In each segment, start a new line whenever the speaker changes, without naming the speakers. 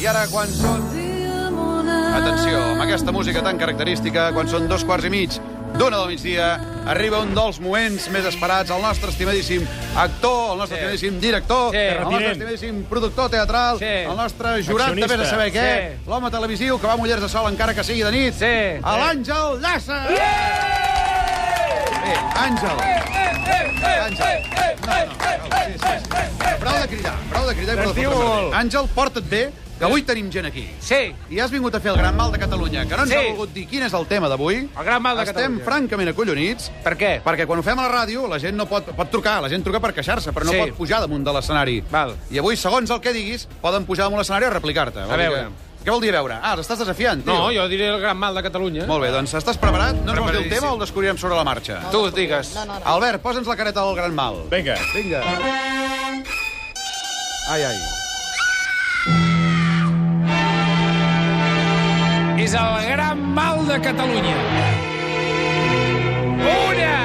I ara, quan són... Atenció, amb aquesta música tan característica, quan són dos quarts i mig d'una del migdia, arriba un dels moments més esperats, el nostre estimadíssim actor, el nostre estimadíssim director,
Sí.
el nostre estimadíssim productor teatral,
Sí.
el nostre jurat de vés a saber què,
Sí.
l'home televisiu que va a Mullers de Sol encara que sigui de nit,
Sí.
a l'Àngel Llassa! Bé, Àngel, Àngel, prou de cridar, prou de cridar. i prou de
Vestíbul.
fotre-me'n. Àngel, porta't bé, que avui tenim gent aquí.
Sí,
I has vingut a fer el gran mal de Catalunya, que no ens
Sí.
ha volgut dir quin és el tema d'avui.
El gran mal de
Estem
Catalunya.
francament acollonits,
per què?
perquè quan ho fem a la ràdio la gent no pot, pot trucar, la gent truca per queixar-se, però no
Sí.
pot pujar damunt de l'escenari.
Val.
I avui, segons el que diguis, poden pujar damunt l'escenari o replicar-te. Vol dir
veure.
Que... Què vol dir a veure? Ah, els estàs desafiant, tio.
No, jo diré el gran mal de Catalunya.
Molt bé, doncs estàs preparat? No ens vols dir el
Preparadíssim.
tema o el descobrirem sobre la marxa?
Tu digues.
Albert, posa'ns la careta del gran mal.
Vinga.
Vinga. Ai, ai.
És el gran mal de Catalunya. Una,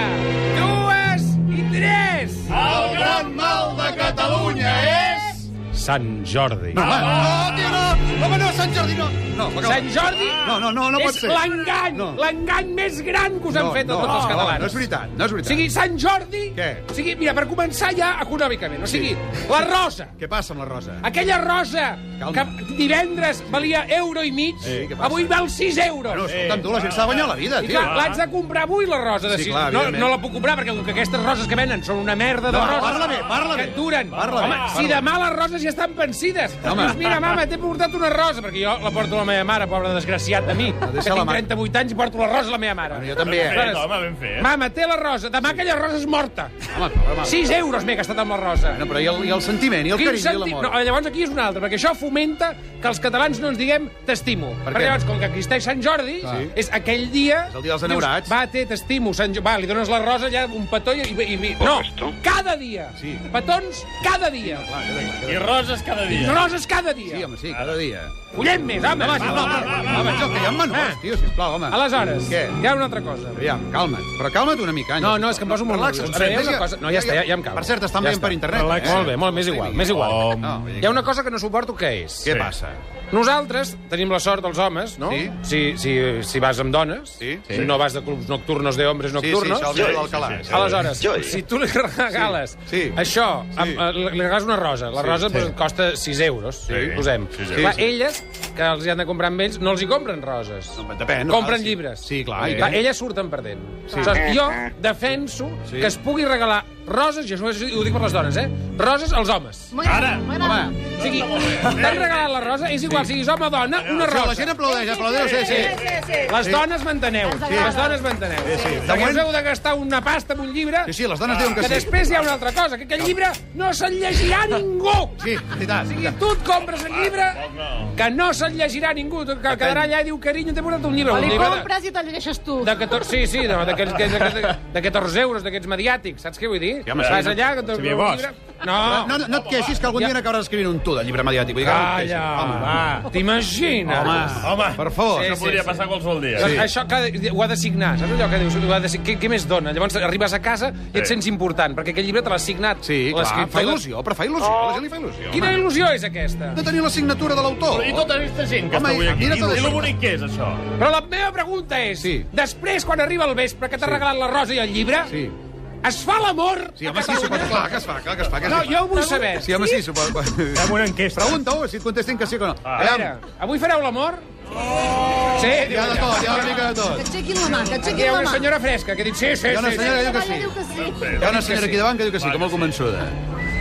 dues i tres!
Ah,
El gran mal de Catalunya és... Sant Jordi.
No, home, no, tio, no! Home, no, Sant Jordi, no! No, per
Sant Jordi
No, no, no, no pot
és
ser.
l'engany,
No.
l'engany més gran que us han fet a tots els catalans.
No, no és veritat, no és
O
veritat.
sigui, Sant Jordi...
Què?
O sigui, mira, per començar ja econòmicament. O sigui, la rosa.
Què passa amb la Rosa?
Aquella rosa
Calma.
que divendres valia euro i mig,
Sí, què passa?
avui val 6 euros.
No, escolta'm, tu, la gent s'ha de guanyar la vida,
I
tio.
clar, l'haig de comprar avui, la rosa. De
Sí,
sis-
clar,
no,
evidentment.
no la puc comprar, perquè com que aquestes roses que venen són una merda de
No,
roses...
parla bé, parla
que
bé.
et duren.
Parla bé,
Home,
parla
si
bé.
demà les roses ja estan pensides.
Home.
Dius, mira, mama, t'he portat una rosa, perquè jo la porto a la meva mare, pobre desgraciat de mi, que
deixa la
tinc
mare.
38 anys i porto la rosa a la meva mare.
Bueno, jo també, eh?
Fet, home, ben fet.
Mama, té la rosa. Demà aquella rosa és morta.
Home, però, home.
6 euros m'he gastat amb la rosa.
No, però i el, i el sentiment, i el
Quin
carinyo, i
sentit-
l'amor.
No, eh. llavors aquí és un altre, perquè això fomenta que els catalans no ens diguem t'estimo. Per
què?
perquè llavors, com que existeix Sant Jordi,
Sí.
és aquell dia...
És el dia dels enamorats.
dius, Va, té, t'estimo, Sant Jordi. Va, li dones la rosa, ja un petó i... i, i no, cada dia.
Sí.
Petons cada dia.
Clar, queda, clar,
I
queda.
roses cada dia.
Roses cada dia.
Sí, home, sí,
Ah.
cada dia.
Collem més, home.
Home, sisplau,
va, va, va, va.
home, jo, que hi ha
Ah.
menors, tio, sisplau, home.
Aleshores,
Què?
hi ha una altra cosa.
Aviam, calma't. Però calma't una mica, Àngel.
No, no, és que em poso molt
Relaxa't.
nerviós. Ara, hi ha una cosa- no, ja està, ja- ja em calmo.
Per cert, estan
Ja
veient
està.
per internet.
Relaxa.
eh?
Molt bé, molt, més igual, més igual.
Oh,
No, vull dir
Hi ha una cosa que no suporto, que és...
Què passa?
Nosaltres tenim la sort, els homes, no?
Sí.
Si, si, si vas amb dones,
Sí.
si no vas de clubs nocturnos de hombres
Sí, sí,
nocturnos...
això el dia de l'Alcalà.
Sí, sí, sí.
Aleshores, si tu li regales
Sí, sí.
això, amb, eh, li regales una rosa, la
Sí,
rosa
sí.
pues, et costa 6 euros, sí. posem.
Sí, sí.
Clar,
Sí, sí.
elles, que els hi han de comprar amb ells, no els hi compren roses.
Home, depèn, no cal,
Compren
sí.
llibres.
Sí, clar, i
clar
què?
elles surten perdent. Sí. Aleshores, jo defenso
Sí.
que es pugui regalar roses, i això ho dic per les dones, eh? Roses als homes.
Ara.
Home,
O sigui, t'han regalat la rosa, és igual, siguis home o dona, una
sí,
rosa.
la gent aplaudeix, aplaudeix, sí, sí.
Les dones m'enteneu,
Sí.
les dones m'enteneu. Sí, sí.
De
Perquè
moment-
us heu de gastar una pasta en un llibre,
Sí, sí, les dones diuen
Ah, que
que sí.
després hi ha una altra cosa, que aquest llibre no se'n llegirà ningú.
Sí,
O
veritat.
sigui, tu et compres el llibre que no se'n llegirà ningú, que quedarà allà i diu, carinyo, t'he portat un llibre.
O
Un
li
llibre de-
compres i te'l llegeixes tu.
de 14, sí, sí, no, d'aquests que- d'aquests- de 14 euros, d'aquests mediàtics, saps què vull dir?
Sí, home, sí.
Vas allà... que te'n-
Xavier
un
Bosch.
llibre-
No, no, no et queixis, que algun dia n'acabaràs escrivint un tu de llibre mediàtic. Vull dir que no et queixis.
Calla, va. T'imagines?
Home, home,
Home.
per favor.
Sí,
Això podria passar qualsevol dia.
Doncs Això clar, ho ha de signar, saps allò que dius? Ho ha de, sig- què, què més dona? Llavors arribes a casa i et
Sí.
sents important, perquè aquest llibre te l'ha signat.
Sí, clar,
l'escriptor.
fa il·lusió, però fa il·lusió, la gent li fa il·lusió.
Quina
home.
il·lusió és aquesta?
De tenir la signatura de l'autor.
I tota aquesta gent que
Home,
està avui aquí.
mira
I
tot
lo
això.
bonic que és, això.
Però la meva pregunta és,
Sí.
després, quan arriba el vespre, que t'ha
Sí.
regalat la rosa i el llibre,
Sí.
es fa l'amor
Sí,
a
home, sí,
Catalunya?
suposo, clar, que es fa, clar, que es fa. Que
No,
es fa.
jo ho vull saber.
Sí, home, sí, suposo.
Fem una enquesta.
Pregunta-ho, si et contesten que sí o no.
A
Ah, Aviam,
veure, avui fareu l'amor? Sí,
hi ha de tot, hi ha una mica de
Que
tot.
aixequin la mà,
Aquí
que aixequin
hi ha
la
una
mà.
senyora fresca que ha dit sí, sí,
Hi ha una
sí.
senyora que diu que
Ella diu
sí.
que sí.
Hi ha una senyora aquí davant que diu que sí, que molt convençuda.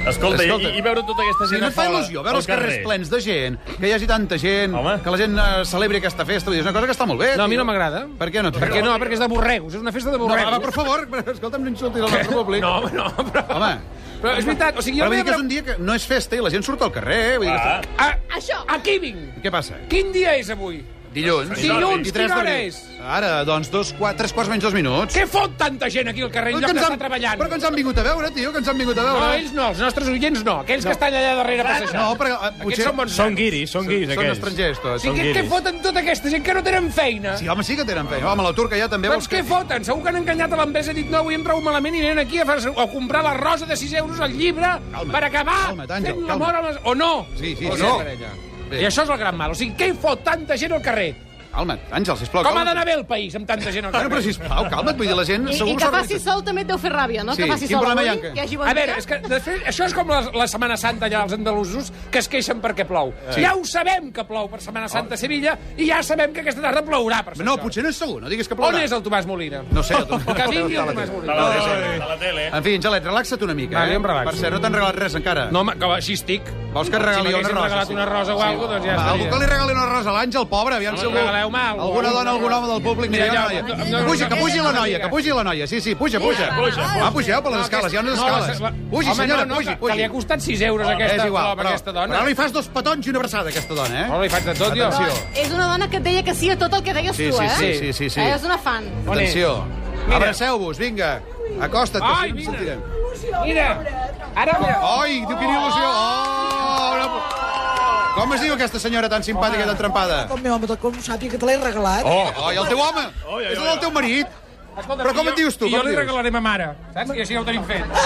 Escolta,
Escolta.
i, i veure tota aquesta
Sí,
gent
no
a
et fa
fora,
il·lusió veure
al
els carrers
carrer.
plens de gent, que hi hagi tanta gent,
Home.
que la gent eh, celebri aquesta festa. Vull dir, És una cosa que està molt bé.
No, a mi
tio.
no m'agrada.
Per què no?
Perquè no, perquè és de borregos, és una festa de
No, va,
borregos.
va, per favor, escolta'm, no insultis el nostre públic.
No, home, no, però...
Home,
Però és veritat, o sigui, jo...
però vull dir
la
que
meva-
és un dia que no és festa i la gent surt al carrer. eh? Vull dir que
Ah,
està...
A,
Això.
Aquí vinc.
Què passa?
Quin dia és avui?
Dilluns.
Dilluns,
23
quina hora
d'abril.
és?
Ara, doncs, dos, quatre, tres quarts menys dos minuts.
Què fot tanta gent aquí al carrer en
Però
lloc
que ens
d'estar
han-
treballant?
Però que ens han vingut a veure, tio, que ens han vingut a
No,
veure.
ells no, els nostres oients no, aquells que estan allà darrere passejant.
No, però eh,
Aquests
potser...
són bons
Són guiris, són guiris,
Són
aquells.
estrangers, tots.
Sí,
són
què, què
guiris.
foten tota aquesta gent que no tenen feina?
Sí, home, sí que tenen feina. Home, la turca ja també...
Doncs
vols
què
que-
foten? Segur que han enganyat a l'empresa i dit no, avui em trobo malament i venen aquí a, fer, a comprar la rosa de 6 euros al llibre
Calma't,
per acabar
calma't, Àngel,
fent l'amor
calma't.
amb les... O no?
Sí, sí,
o
sí.
no.
No. Bé.
I això és el gran mal. O sigui, què hi fot tanta gent al carrer?
Calma't, Àngel, sisplau.
Com ha
calma't.
d'anar bé el país amb tanta gent al
Bueno,
carrer?
però sisplau, calma't, vull dir, la gent
I,
segur
I
s'ha
que faci
organitzat.
sol també et deu fer ràbia, no?
Sí,
que faci
quin
sol
problema hi ha
avui,
que-
que hi hagi bon
A veure,
dia.
és que, de fet, això és com la, la Setmana Santa allà als andalusos, que es queixen perquè plou. Sí. Oh. Ja ho sabem que plou per Setmana Santa a Sevilla i ja sabem que aquesta tarda plourà per Sant
No,
Jordi.
potser no és segur, no diguis que
On
plourà.
és el Tomàs Molina?
No sé, tu.
Que vingui el Tomàs
A
Molina.
la tele, a la tele.
En fi, Angelet, relaxa't una mica,
Va,
eh?
jo em relaxo.
Per cert, no t'han regalat res encara.
No, home, que així estic.
Vols que et regali una
si m'haguessin
rosa,
regalat
sí.
una rosa o alguna cosa, doncs ja
Va, algú
estaria.
que li regali una rosa a l'Àngel, pobre, aviam
No,
si algú...
regaleu-me alguna cosa.
Alguna dona, algun home del públic, mira, hi ha
Ja, ja,
una
no,
noia.
no,
Puja,
no,
que
no,
pugi la
no,
noia,
no,
que pugi la noia, sí, sí, puja, puja.
puja,
Va, pugeu per les
No,
escales, hi ha unes
no, la-
escales.
la-
Pugi,
Home,
senyora,
no, no,
pugi,
que-
pugi. Oh,
Que li ha costat 6 euros aquesta
És igual,
flor,
però,
aquesta dona.
però li fas dos petons i una abraçada, a aquesta dona, eh?
Hola, li faig de tot, jo.
Atenció.
És una dona que et deia que sí a tot el que deies
Sí,
tu,
sí,
eh?
sí, sí, sí, sí.
Eh, és una fan.
On és?
Atenció.
Mira.
Abraceu-vos, vinga. Acosta't, que si no ens
Ai, mira.
sentirem.
Mira, ara...
Ai, diu quina il·lusió. Oh, una... Com es diu aquesta senyora tan simpàtica i tan trempada?
Com meu home del com sàpiga que te l'he regalat.
Oh, oh, i el teu home?
Oh, ja, ja,
És el del teu marit?
Escolta,
Però com
i
et dius tu?
i Jo
Com
li
dius?
regalaré a ma mare, saps? I així ja ho tenim fet.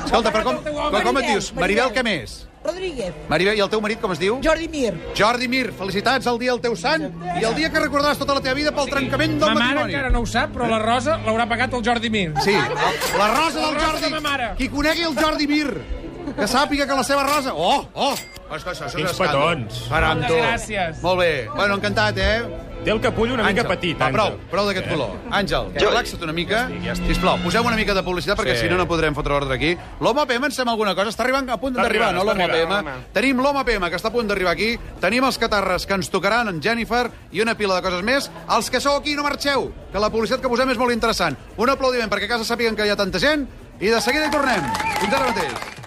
Escolta, però com,
El teu home.
però com et dius? Maribel, què més?
Rodríguez,
Maribel, i el teu marit com es diu?
Jordi Mir,
Jordi Mir, felicitats el dia del teu sant i el dia que recordaràs tota la teva vida pel trencament del
ma mare
matrimoni.
encara no ho sap, però la Rosa l'haurà pagat el Jordi Mir.
Sí, la rosa del
La rosa de ma
Jordi.
mare.
Qui conegui el Jordi Mir, que sàpiga que la seva rosa... Oh, oh! Això, això, això
Quins petons.
Param,
Moltes
tu.
gràcies.
Molt bé. Bueno, encantat, eh?
Té el capull una mica petit,
va, prou,
Àngel. Eh?
prou d'aquest color. Àngel, relaxa't una mica. Sisplau, poseu una mica de publicitat, perquè
Sí.
si no, no podrem fotre ordre aquí. L'Home PM ens sembla alguna cosa. Està arribant a punt
Està
d'arribar,
arribant,
no?
està
L'Home
arribant,
PM.
home.
Tenim l'Home PM, que està a punt d'arribar aquí. Tenim els catarres, que ens tocaran en Jennifer, i una pila de coses més. Els que sou aquí, no marxeu, que la publicitat que posem és molt interessant. Un aplaudiment perquè a casa sàpiguen que hi ha tanta gent, i de seguida hi tornem. Fins ara mateix.